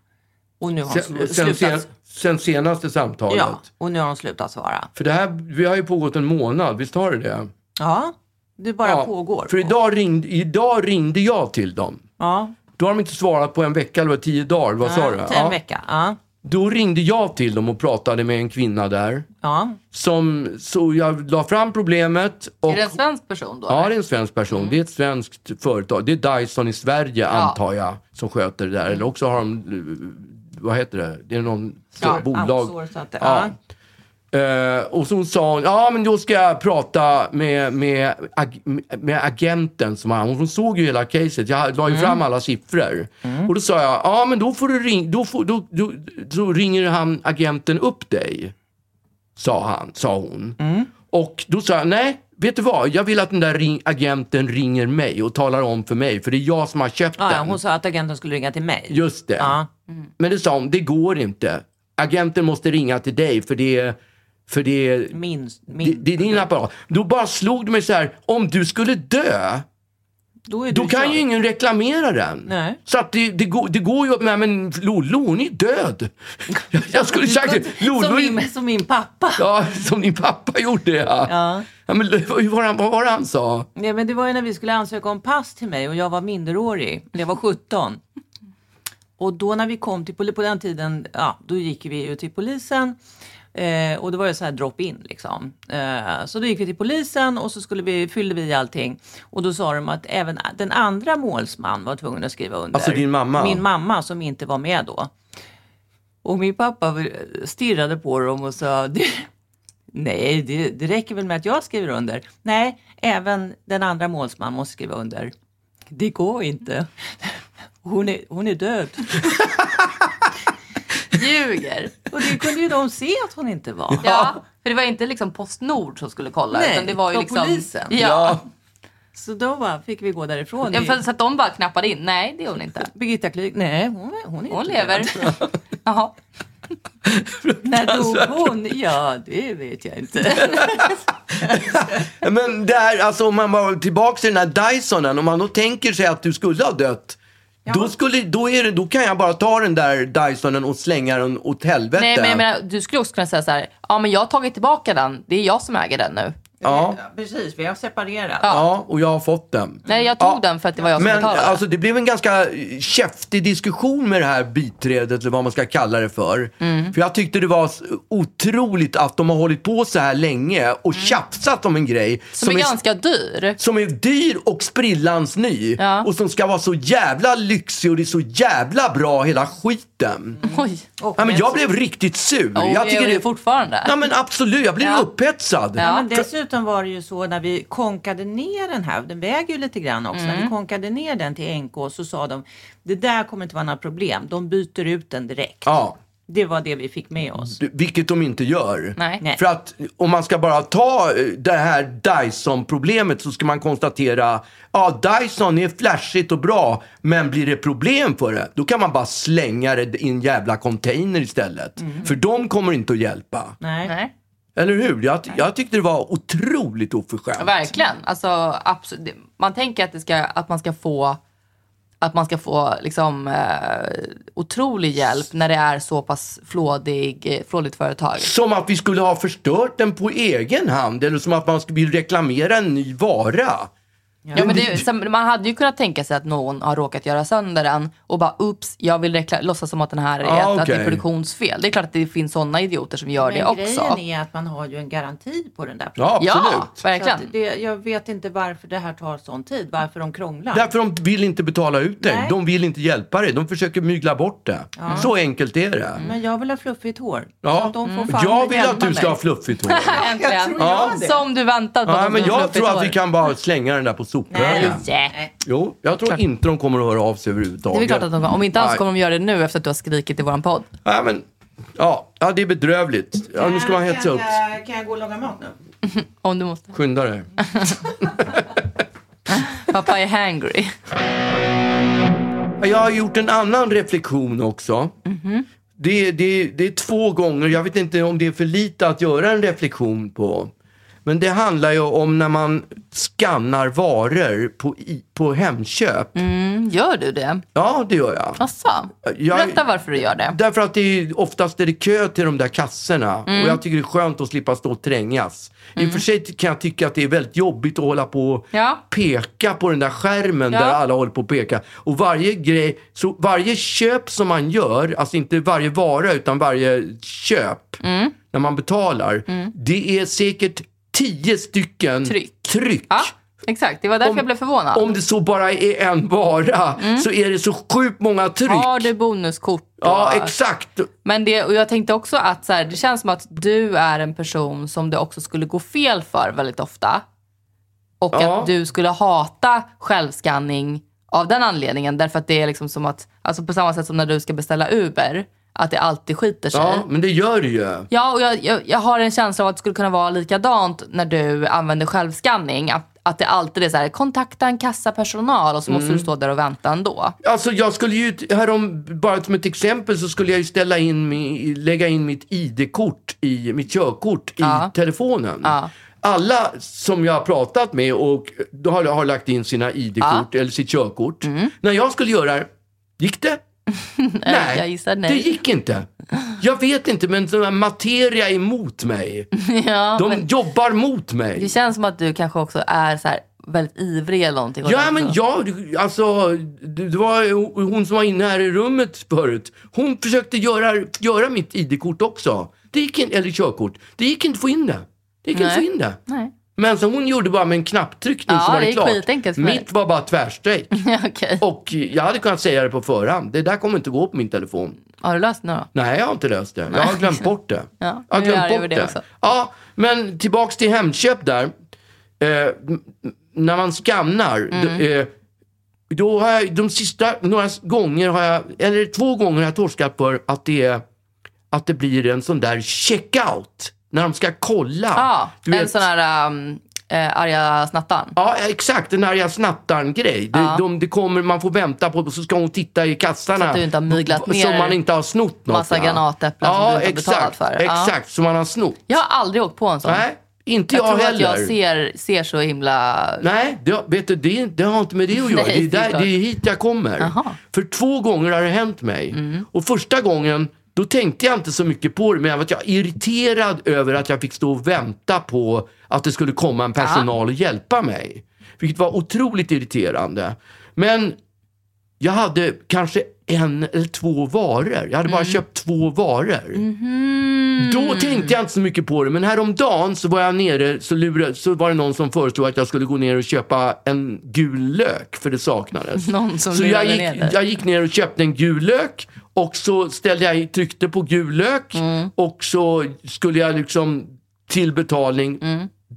Och nu har de
Sen,
slu-
sen, sen,
slutat.
sen senaste samtalet.
Ja, och nu har de slutat svara.
För det här, vi har ju pågått en månad, visst har det det?
Ja, det bara
Ja,
pågår.
För idag ringde, idag ringde jag till dem.
Ja,
Då har de inte svarat på en vecka eller tio dagar, vad sa du?
till en
Ja.
vecka. Ja,
Då ringde jag till dem och pratade med en kvinna där.
ja.
Som, så jag la fram problemet. Och,
Är det en svensk person då?
Ja, det är en svensk person. Det är ett svenskt företag. Det är Dyson i Sverige, antar jag, som sköter det där. Eller också har de, eh, vad heter det, det är någon
ja
bolag.
outsourcat det.
Ja.
Ja.
Eh, och så sa hon, ja men då ska jag prata med, med, ag- med agenten som han, hon såg ju hela caset, jag la ju
Mm.
fram alla siffror. Och då sa jag, ja men då får du ring, då får, då, då, så ringer han agenten upp dig. Sa han, sa hon.
Mm.
Och då sa jag, nej vet du vad, jag vill att den där ring, agenten ringer mig och talar om för mig, för det är jag som har köpt
Ja, ja,
den.
hon sa att agenten skulle ringa till mig.
Just det.
Ja.
Men det sa hon, det går inte. Agenten måste ringa till dig för det är, för det är,
Min, min,
det, det är din apparat. Då bara slog det mig så här, om du skulle dö,
då är
då
du
kan
körd.
ju ingen reklamera den.
Nej.
Så att det, det, går, det går ju, nej men Lollo hon är död. Jag, jag skulle sagt det,
som,
Lollo är...
min, som min pappa.
Ja, som din pappa gjorde ja.
Ja.
ja men vad var, han, vad var det han sa?
Nej, men det var ju när vi skulle ansöka om pass till mig och jag var minderårig. Jag var 17. Och då när vi kom till polisen, på den tiden, ja, då gick vi ju till polisen. Eh, och det var ju så här drop-in liksom. Eh, så då gick vi till polisen och så skulle vi, fyllde vi i allting. Och då sa de att även den andra målsman var tvungen att skriva under.
Alltså din mamma?
Min mamma som inte var med då. Och min pappa eh, stirrade på dem och sa, "Det- nej det, det räcker väl med att jag skriver under. Nej, även den andra målsman måste skriva under. Det går inte. Hon är, hon är död.
Ljuger.
Och det kunde ju de se att hon inte var.
Ja, för det var inte liksom Postnord som skulle kolla.
Nej,
utan det var ju
det var
liksom...
polisen.
Ja.
Så då bara fick vi gå därifrån.
Ja, för, så att de bara knappade in. Nej, det är hon inte.
Birgitta Klüg, nej hon, är- hon är
Hon
inte
lever.
död.
Jaha.
När dog hon? Ja, det vet jag inte.
Men där, alltså om man var tillbaka till den här Dysonen, om man då tänker sig att du skulle ha dött. Då, skulle, då, är det, då kan jag bara ta den där Dysonen och slänga den åt helvete.
Nej, men jag menar, du skulle också kunna säga så här. Ja, men jag har tagit tillbaka den. Det är jag som äger den nu.
ja,
Precis, vi har separerat.
ja, och jag har fått den.
Nej, jag tog den för att det var jag som
Men
betalade.
alltså, det blev en ganska eh, käftig diskussion med det här biträdet, eller vad man ska kalla det för. För jag tyckte det var s- otroligt att de har hållit på så här länge och tjafsat om en grej
som, är, ganska dyr.
som är dyr och sprillans ny
Ja.
och som ska vara så jävla lyxig och det är så jävla bra hela skiten.
Oj.
Och
Ja, men
dess-
jag blev riktigt sur.
Oh,
jag tycker det...
fortfarande.
Ja men absolut, jag blev
Ja.
upphetsad.
Ja,
Ja.
men dessutom var det ju så när vi konkade ner den här, den väger ju lite grann också,
Mm.
när vi konkade ner den till NK så sa de det där kommer inte vara några problem, de byter ut den direkt.
Ja,
Det var det vi fick med oss.
d- vilket de inte gör.
Nej.
Nej.
För att om man ska bara ta eh, det här Dyson-problemet så ska man konstatera ja, Dyson är flashigt och bra, men blir det problem för det, då kan man bara slänga det i en jävla container istället. För de kommer inte att hjälpa.
Nej.
Nej.
Eller hur? Jag, ty- jag tyckte det var otroligt
Ja,
oförskämt.
Verkligen.
Mm.
Alltså, absolut. Det- Man tänker att, det ska, att man ska få att man ska få liksom, eh, otrolig hjälp när det är så pass flådig, eh, flådigt företag.
Som att vi skulle ha förstört den på egen hand eller som att man skulle vilja reklamera en ny vara.
Ja, men det, sen, man hade ju kunnat tänka sig att någon har råkat göra sönder den och bara ups, jag vill rekla- låtsas som att den här är,
Ah,
att det är
okej.
produktionsfel. Det är klart att det finns sådana idioter som gör det
Men
också.
grejen är att man har ju en garanti på den där produkten.
Ja,
ja,
absolut.
Så
verkligen.
att det, jag vet inte varför det här tar sån tid, varför de krånglar.
Därför de vill inte betala ut dig.
Nej.
De vill inte hjälpa dig. De försöker mygla bort det. Så enkelt är det.
Mm.
Men jag vill ha fluffigt hår. Så
Ja. Mm.
att de får fan
Jag vill att
hjälpa
du ska
mig.
ha fluffigt hår.
Äntligen.
Ja.
Som du väntat på. att
Ja,
de
men
skulle
jag
fluffa
tror
ett
att vi
hår.
kan bara slänga den där på sophögen.
Nej.
Jo, jag tror inte de kommer att höra av sig
Det är väl
överhuvudtaget.
klart att de kommer. Om inte alls
Nej.
kommer de göra det nu efter att du har skrikit i våran podd.
Ja, men, ja, ja, det är bedrövligt. Ja, nu ska man hetsa upp sig.
jag, kan jag gå och laga mat nu?
Om du måste.
Skynda dig.
Pappa är hangry.
Jag har gjort en annan reflektion också. Det, det, det är två gånger, jag vet inte om det är för lite att göra en reflektion på. Men det handlar ju om när man skannar varor på, i, på Hemköp.
Mm, gör du det?
Ja, det gör jag.
Asså?
Jag-
Berätta varför du gör det.
Därför att det är, oftast är det kö till de där kassorna
Mm.
och jag tycker det är skönt att slippa stå och trängas. I och för sig kan jag tycka att det är väldigt jobbigt att hålla på och
Ja.
peka på den där skärmen där
Ja.
alla håller på och peka. Och varje grej, så varje köp som man gör, alltså inte varje vara utan varje köp
Mm.
när man betalar, det är säkert tio stycken
Tryck.
tryck.
Ja, exakt. Det var därför jag blev förvånad.
Om det så bara är en vara
Mm.
så är det så sjukt många tryck.
Har du bonuskort? och-
Ja, exakt.
Men det, och jag tänkte också att så här, det känns som att du är en person som det också skulle gå fel för väldigt ofta. Och
Ja.
att du skulle hata självskanning av den anledningen. Därför att det är liksom som att, alltså på samma sätt som när du ska beställa Uber, att det alltid skiter sig.
Ja, men det gör det ju.
Ja, och jag, jag, jag har en känsla av att det skulle kunna vara likadant när du använder självskanning. Att, att det alltid är så här, kontakta en kassapersonal och så måste
Mm.
du stå där och vänta ändå.
Alltså jag skulle ju, härom, bara som ett exempel, så skulle jag ju ställa in, mi- lägga in mitt ID-kort, i, mitt körkort i telefonen. Alla som jag har pratat med och eh, då har, har lagt in sina ID-kort eller sitt körkort.
Mm.
När jag skulle göra det, gick det? nej,
jag gissar nej.
det gick inte. Jag vet inte, men den här materia är emot mig.
Ja,
De
men
jobbar mot mig.
det känns som att du kanske också är så här, väldigt ivrig eller någonting.
Ja, men jag, alltså, det det var hon som var inne här i rummet förut. Hon försökte göra, göra mitt ID-kort också. Det gick in, eller körkort. Det gick inte att få in det. Det gick inte att få
Nej.
in det.
Nej.
Men så hon gjorde bara med en knapptryckning
Ja,
så var
det
det
är skitenkelt
klart.
för mig.
Mitt var bara tvärstrejk.
Ja, Okej.
Och jag hade kunnat säga det på förhand. Det där kommer inte gå på min telefon.
Har du löst det nu då?
Nej, jag har inte löst det. Jag har glömt bort det.
Ja,
jag har
nu är jag arg över det också.
Ja, men tillbaks till Hemköp där. Eh, m- m- när man skannar, d-
Mm.
eh, då har jag, de sista några s- gånger har jag, eller två gånger har jag torskat för att det, är- att det blir en sån där checkout. När de ska kolla.
Ja,
Du
en
vet-
sån här um, eh, arga snattan.
Ja, exakt. Den här jag snattar-grej. Det, de, det kommer, man får vänta på och så ska hon titta i kassarna.
Så att du inte har myglat
v- Som
ner
man inte har snott något.
massa
va?
granatäpplen som du inte har betalat för. Ja.
Exakt, som man har snott.
Jag har aldrig åkt på en sån.
Nej, inte
jag
jag,
tror
heller.
att jag ser, ser så himla...
Nej, det, vet du, det, är- det har inte med det att göra.
Nej,
det, är där,
såklart.
det är hit jag kommer.
Jaha.
För två gånger har det hänt mig. Och första gången, då tänkte jag inte så mycket på det, men jag var jag irriterad över att jag fick stå och vänta på att det skulle komma en personal och hjälpa mig. Vilket var otroligt irriterande. Men jag hade kanske en eller två varor. Jag hade bara
Mm.
köpt två varor.
Mhm.
Då tänkte jag inte så mycket på det, men häromdagen så var jag nere, så, lurade, så var det någon som föreslog att jag skulle gå ner och köpa en gul lök, för det saknades.
Någon som
så jag
lurade ner dig.
gick, jag gick ner och köpte en gul lök och så ställde jag, i- tryckte på gul lök
Mm.
och så skulle jag liksom till betalning.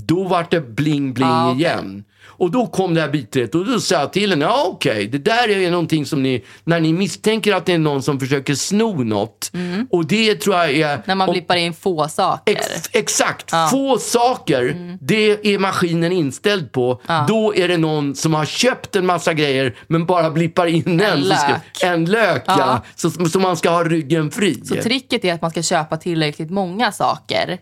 Då var det bling bling
Mm. Ah, okej.
igen. Och då kom det här biträdet och då sa jag till henne, ja okej, det där är någonting som ni, när ni misstänker att det är någon som försöker sno något. Och det tror jag är...
Mm. När man
och-
blippar in få saker.
Ex, exakt. Få saker,
Mm.
det är maskinen inställd på. Då är det någon som har köpt en massa grejer men bara blippar in en.
En
så ska-
lök.
En lök, ja. Så, så man ska ha ryggen fri.
Så tricket är att man ska köpa tillräckligt många saker. eh,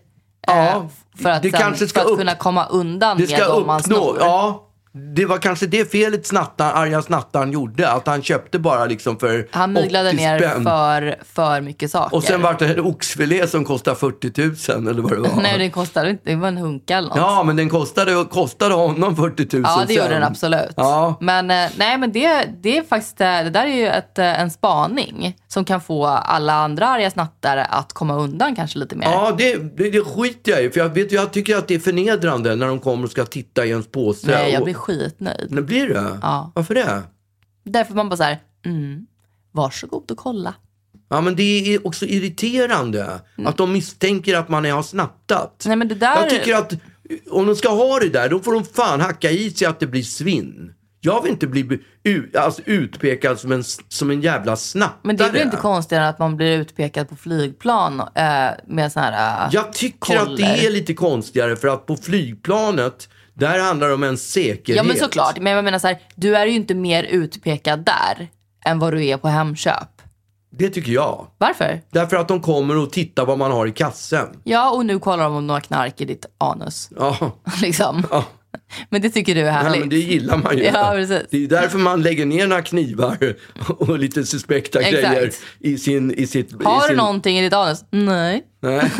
ja,
För att,
det
sen,
kanske ska
för att
upp,
kunna komma undan
det ska
med dem man
uppnå.
snor.
Ja, det var kanske det felet snattan, arga snattaren gjorde. Att han köpte bara liksom för
Han myglade
80
ner
spänn.
för, för mycket saker.
Och sen var det en oxfilé som kostade 40 000 eller vad det var.
Nej, det kostade inte. Det var en hunka eller något.
Ja, men den kostade, kostade honom 40 000
Ja, det gjorde
sen.
den absolut.
Ja.
Men, eh, nej, men det, det är faktiskt, eh, det där är ju ett, eh, en spaning som kan få alla andra arga snattare att komma undan kanske lite mer.
Ja, det, det, det skiter jag i. För jag, vet, jag tycker att det är förnedrande när de kommer och ska titta i ens påse.
nej, jag
och-
blir skitnöjd.
Men blir det?
Ja.
Varför det?
Därför man bara så här, mm, varsågod och kolla.
Ja, men det är också irriterande att de misstänker att man är- har snattat.
Mm. Nej, men det där-
Jag tycker att om de ska ha det där, då får de fan hacka i sig att det blir svinn. Jag vill inte bli be- u- alltså, utpekad som en, s- som en jävla snattare.
Men det är väl inte konstigare än att man blir utpekad på flygplan eh, med sån här... eh,
Jag tycker att det
koller.
är lite konstigare för att på flygplanet, där handlar det om en säkerhet.
Ja men såklart. Men jag menar så här, du är ju inte mer utpekad där än vad du är på Hemköp.
Det tycker jag.
Varför?
Därför att de kommer och tittar vad man har i kassen.
Ja, och nu kollar de om de har knark i ditt anus.
Ja,
Liksom.
ja.
Men det tycker du är
Nej,
härligt.
men det gillar man ju.
Ja, precis.
Det är ju därför man lägger ner några knivar och lite suspekta
Exakt.
grejer i sin... I sitt, i
Har du
sin...
någonting i ditt anus? Nej.
Nej.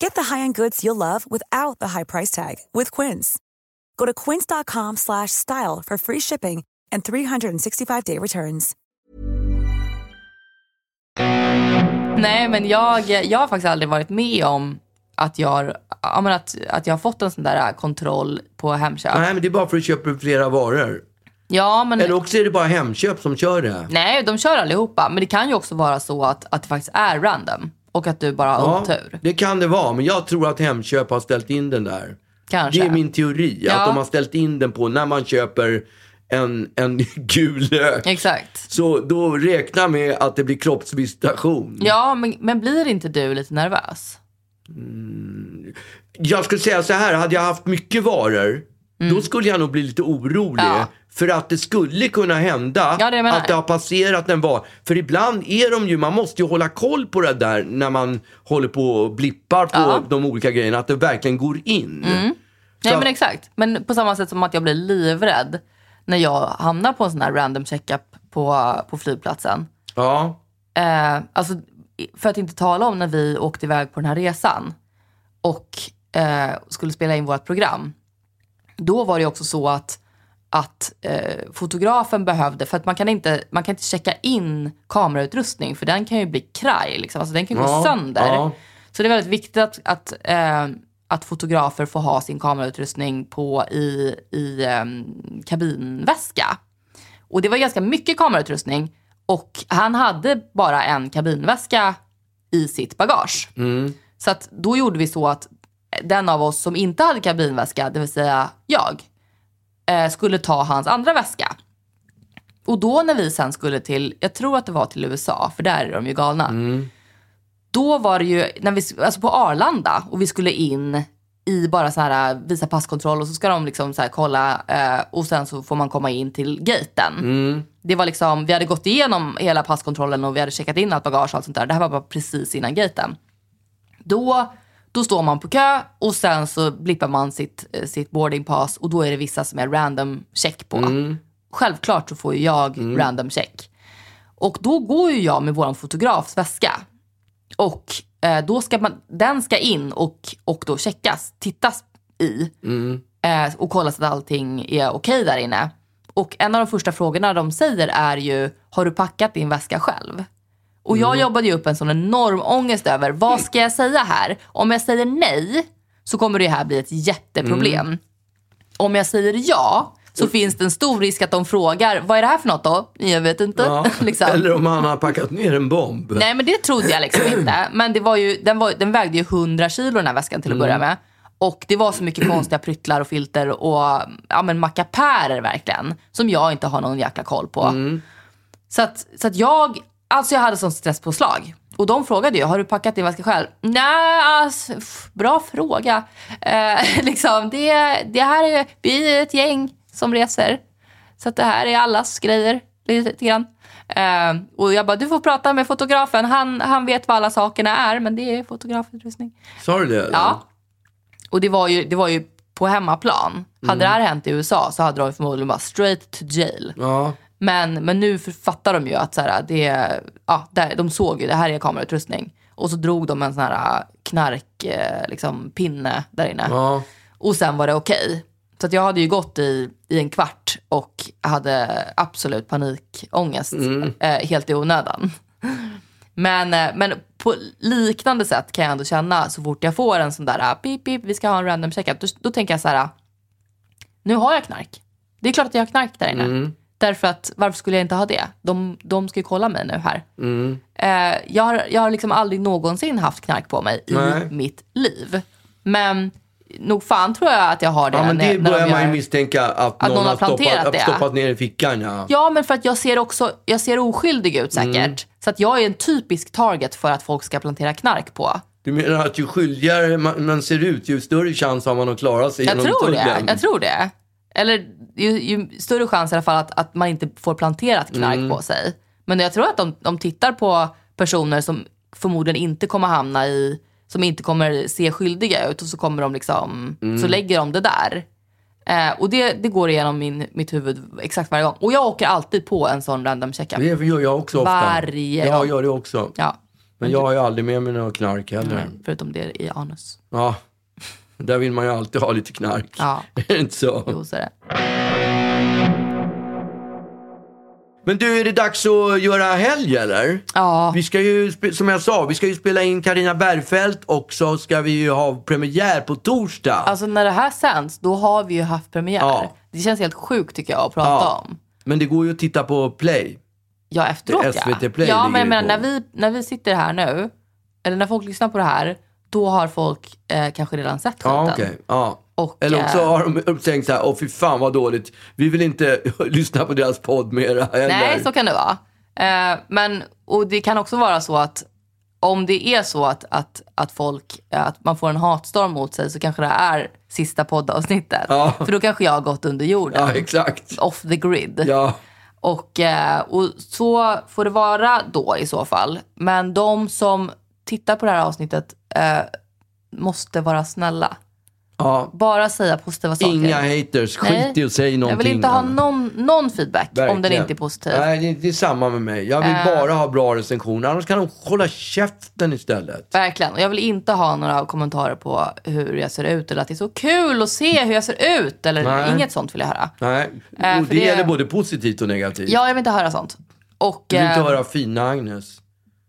Get the high-end goods you'll love without the high price tag with Quince. Go to quince.com/style slash style for free shipping and 365-day returns.
Nej, men jag, jag har faktiskt aldrig varit med om att jag, ja, men att, att jag har fått en sån där äh, kontroll på Hemköp.
Nej, men det är bara för att köpa flera varor.
Ja, men,
Eller också är det bara Hemköp som kör det.
nej, de kör allihopa. Men det kan ju också vara så att, att det faktiskt är random. Och att du bara har otur.
det kan det vara. Men jag tror att Hemköp har ställt in den där.
Kanske.
Det är min teori.
Ja.
Att de har ställt in den på när man köper en, en gul lök.
Exakt.
Så då räkna med att det blir kroppsvisitation.
Ja, men, men blir inte du lite nervös?
Jag skulle säga så här, hade jag haft mycket varor, då skulle jag nog bli lite orolig.
Mm. Ja.
För att det skulle kunna hända
Ja, det menar
att det
jag.
har passerat en var. För ibland är de ju, man måste ju hålla koll på det där när man håller på och blippar på
Ja. Mm.
de olika grejerna, att det verkligen går in.
Nej
Så-
men exakt. Men på samma sätt som att jag blir livrädd när jag hamnar på en sån här random checkup på, på flygplatsen.
Ja.
Eh, alltså, i- för att inte tala om när vi åkte iväg på den här resan och eh, skulle spela in vårt program. Då var det också så att, att eh, fotografen behövde, för att man kan, inte, man kan inte checka in kamerautrustning för den kan ju bli kraj, liksom. alltså, den kan ju
Ja,
gå sönder.
ja.
Så det är väldigt viktigt att, att, eh, att fotografer får ha sin kamerautrustning på i, i eh, kabinväska. Och det var ganska mycket kamerautrustning och han hade bara en kabinväska i sitt bagage. Så att då gjorde vi så att den av oss som inte hade kabinväska, det vill säga jag, eh, skulle ta hans andra väska. Och då när vi sen skulle till, jag tror att det var till USA, för där är de ju galna. Då var det ju, när vi, alltså på Arlanda och vi skulle in i bara så här äh, visa passkontroll och så ska de liksom så här kolla eh, och sen så får man komma in till gaten. Det var liksom, vi hade gått igenom hela passkontrollen och vi hade checkat in allt bagage och allt sånt där. Det här var bara precis innan gaten. Då, då står man på kö och sen så blippar man sitt, eh, sitt boarding pass och då är det vissa som är random check på. Självklart så får ju jag random check. Och då går ju jag med våran fotografs väska. Och eh, då ska man, den ska in och, och då checkas, tittas i. Eh, och kollas att allting är okej där inne. Och en av de första frågorna de säger är ju, har du packat din väska själv? Och
Mm.
jag jobbade ju upp en sån enorm ångest över, vad ska jag säga här? Om jag säger nej så kommer det här bli ett jätteproblem.
Mm.
Om jag säger ja så finns det en stor risk att de frågar, vad är det här för något då? Jag vet inte.
Ja.
liksom.
Eller om han har packat ner en bomb.
Nej men det trodde jag liksom inte. Men det var ju, den, var, den vägde ju 100 kilo den här väskan till att börja med. Och det var så mycket konstiga pryttlar och filter och ja, men mackapärer verkligen. Som jag inte har någon jäkla koll på. Så, att, så att jag, alltså jag hade sån stresspåslag. Och de frågade ju, har du packat din väska själv? Nej, alltså, pff, bra fråga. Eh, liksom, det, det här är, vi är ett gäng som reser. Så att det här är allas grejer. Lite grann. Eh, och jag bara, du får prata med fotografen. Han, han vet vad alla sakerna är, men det är fotografutrustning.
Sa du det? eller?
Ja. Och det var ju, det var ju på hemmaplan.
Mm.
Hade det här hänt i USA så hade de förmodligen bara straight to jail.
ja.
Men, men nu fattar de ju att så här, det, ja, där, de såg ju, det här är kamerautrustning. Och så drog de en sån här knarkpinne liksom, pinne där inne.
Ja.
Och sen var det okej. Så att jag hade ju gått i, i en kvart och hade absolut panikångest
Mm.
eh, helt i onödan. Men, eh, men på liknande sätt kan jag ändå känna så fort jag får en sån där ah, pip, pip, vi ska ha en random
Mm.
checkup. Då, då tänker jag så här, ah, nu har jag knark. Det är klart att jag har knark där inne. Därför att varför skulle jag inte ha det? De, de ska ju kolla mig nu här.
Mm.
Eh, jag, har, jag har liksom aldrig någonsin haft knark på mig i
Nej.
mitt liv. Men nog fan tror jag att jag har det.
Ja, men
när-
det
när de
börjar man ju
gör-
misstänka att,
att
någon,
någon
har
har planterat
stoppat,
det.
stoppat ner i fickan. Ja.
Ja, men för att jag ser också, jag ser oskyldig ut säkert.
Mm.
Så att jag är en typisk target för att folk ska plantera knark på.
Du menar att ju skyldigare man, man ser ut, ju större chans har man att klara sig
Jag
genom
tror det.
tullen.
Jag tror det. Eller ju, ju större chans i alla fall att, att man inte får planterat knark
Mm.
på sig. Men jag tror att de, de tittar på personer som förmodligen inte kommer hamna i, som inte kommer se skyldiga ut och så kommer de liksom,
Mm.
så lägger de det där. Eh, och det, det går igenom min, mitt huvud exakt varje gång. Och jag åker alltid på en sån random checkup.
Det gör jag också ofta.
Varje
Jag
gång.
gör det också.
Ja.
Men jag har ju aldrig med mig några knark heller.
Nej, förutom det i anus.
Ja, där vill man ju alltid ha lite knark.
Ja.
Är det inte så?
Jo, så är det.
Men du, är det dags att göra helg eller?
Ja.
Vi ska ju, spe- som jag sa, vi ska ju spela in Karina Bergfeldt och så ska vi ju ha premiär på torsdag.
Alltså när det här sänds, då har vi ju haft premiär.
Ja.
Det känns helt sjukt tycker jag att prata
Ja.
om.
Men det går ju att titta på Play.
Ja, efteråt
Det- SVT Play
ja.
ligger
men jag
det
menar
på.
när vi, när vi sitter här nu, eller när folk lyssnar på det här, då har folk eh, kanske redan sett skiten.
Ja, okej. Ja.
Och,
Eller också
eh,
har de tänkt så här, åh fy fan vad dåligt, vi vill inte lyssna på deras podd mera heller.
Nej, så kan det vara. Eh, men, och det kan också vara så att om det är så att, att, att folk, eh, att man får en hatstorm mot sig så kanske det är sista poddavsnittet.
Ja.
För då kanske jag har gått under jorden.
Ja, exakt.
Off the grid.
Ja.
Och, eh, och så får det vara då i så fall. Men de som tittar på det här avsnittet eh, måste vara snälla.
Ja.
Bara säga positiva saker.
Inga haters, skit
Nej.
i och säg någonting.
Jag vill inte ha någon, någon feedback om den
Verkligen.
inte är positiv.
Nej, det, det är samma med mig. Jag vill
Eh.
bara ha bra recensioner, annars kan de hålla käften istället.
Verkligen. Och jag vill inte ha några kommentarer på hur jag ser ut eller att det är så kul att se hur jag ser ut. Eller
Nej.
inget sånt vill jag höra.
Nej,
Eh,
och
för
det,
det-
gäller både positivt och negativt.
Ja, jag vill inte höra sånt. Och,
Du vill inte
eh,
höra fina Agnes.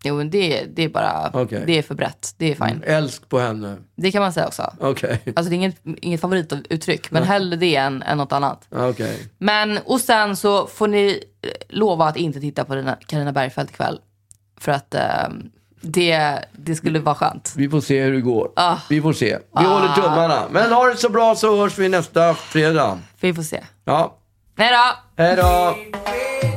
Jo, men det, det är bara,
Okej. Mm.
det är för brett. Det är fine.
Älsk på henne.
Det kan man säga också.
Okej.
Alltså det är inget, inget favorituttryck, men
Nej.
hellre det än, än något annat.
Okej.
Men, och sen så får ni eh, lova att inte titta på Carina- Carina Bergfeldt ikväll. För att eh, det, det skulle vara skönt.
Vi får se hur det går. Vi får se. Vi
Ah.
håller tummarna. Men ha det så bra så hörs vi nästa fredag.
Vi får se.
Ja.
Hej då!
Hej då!
Baby,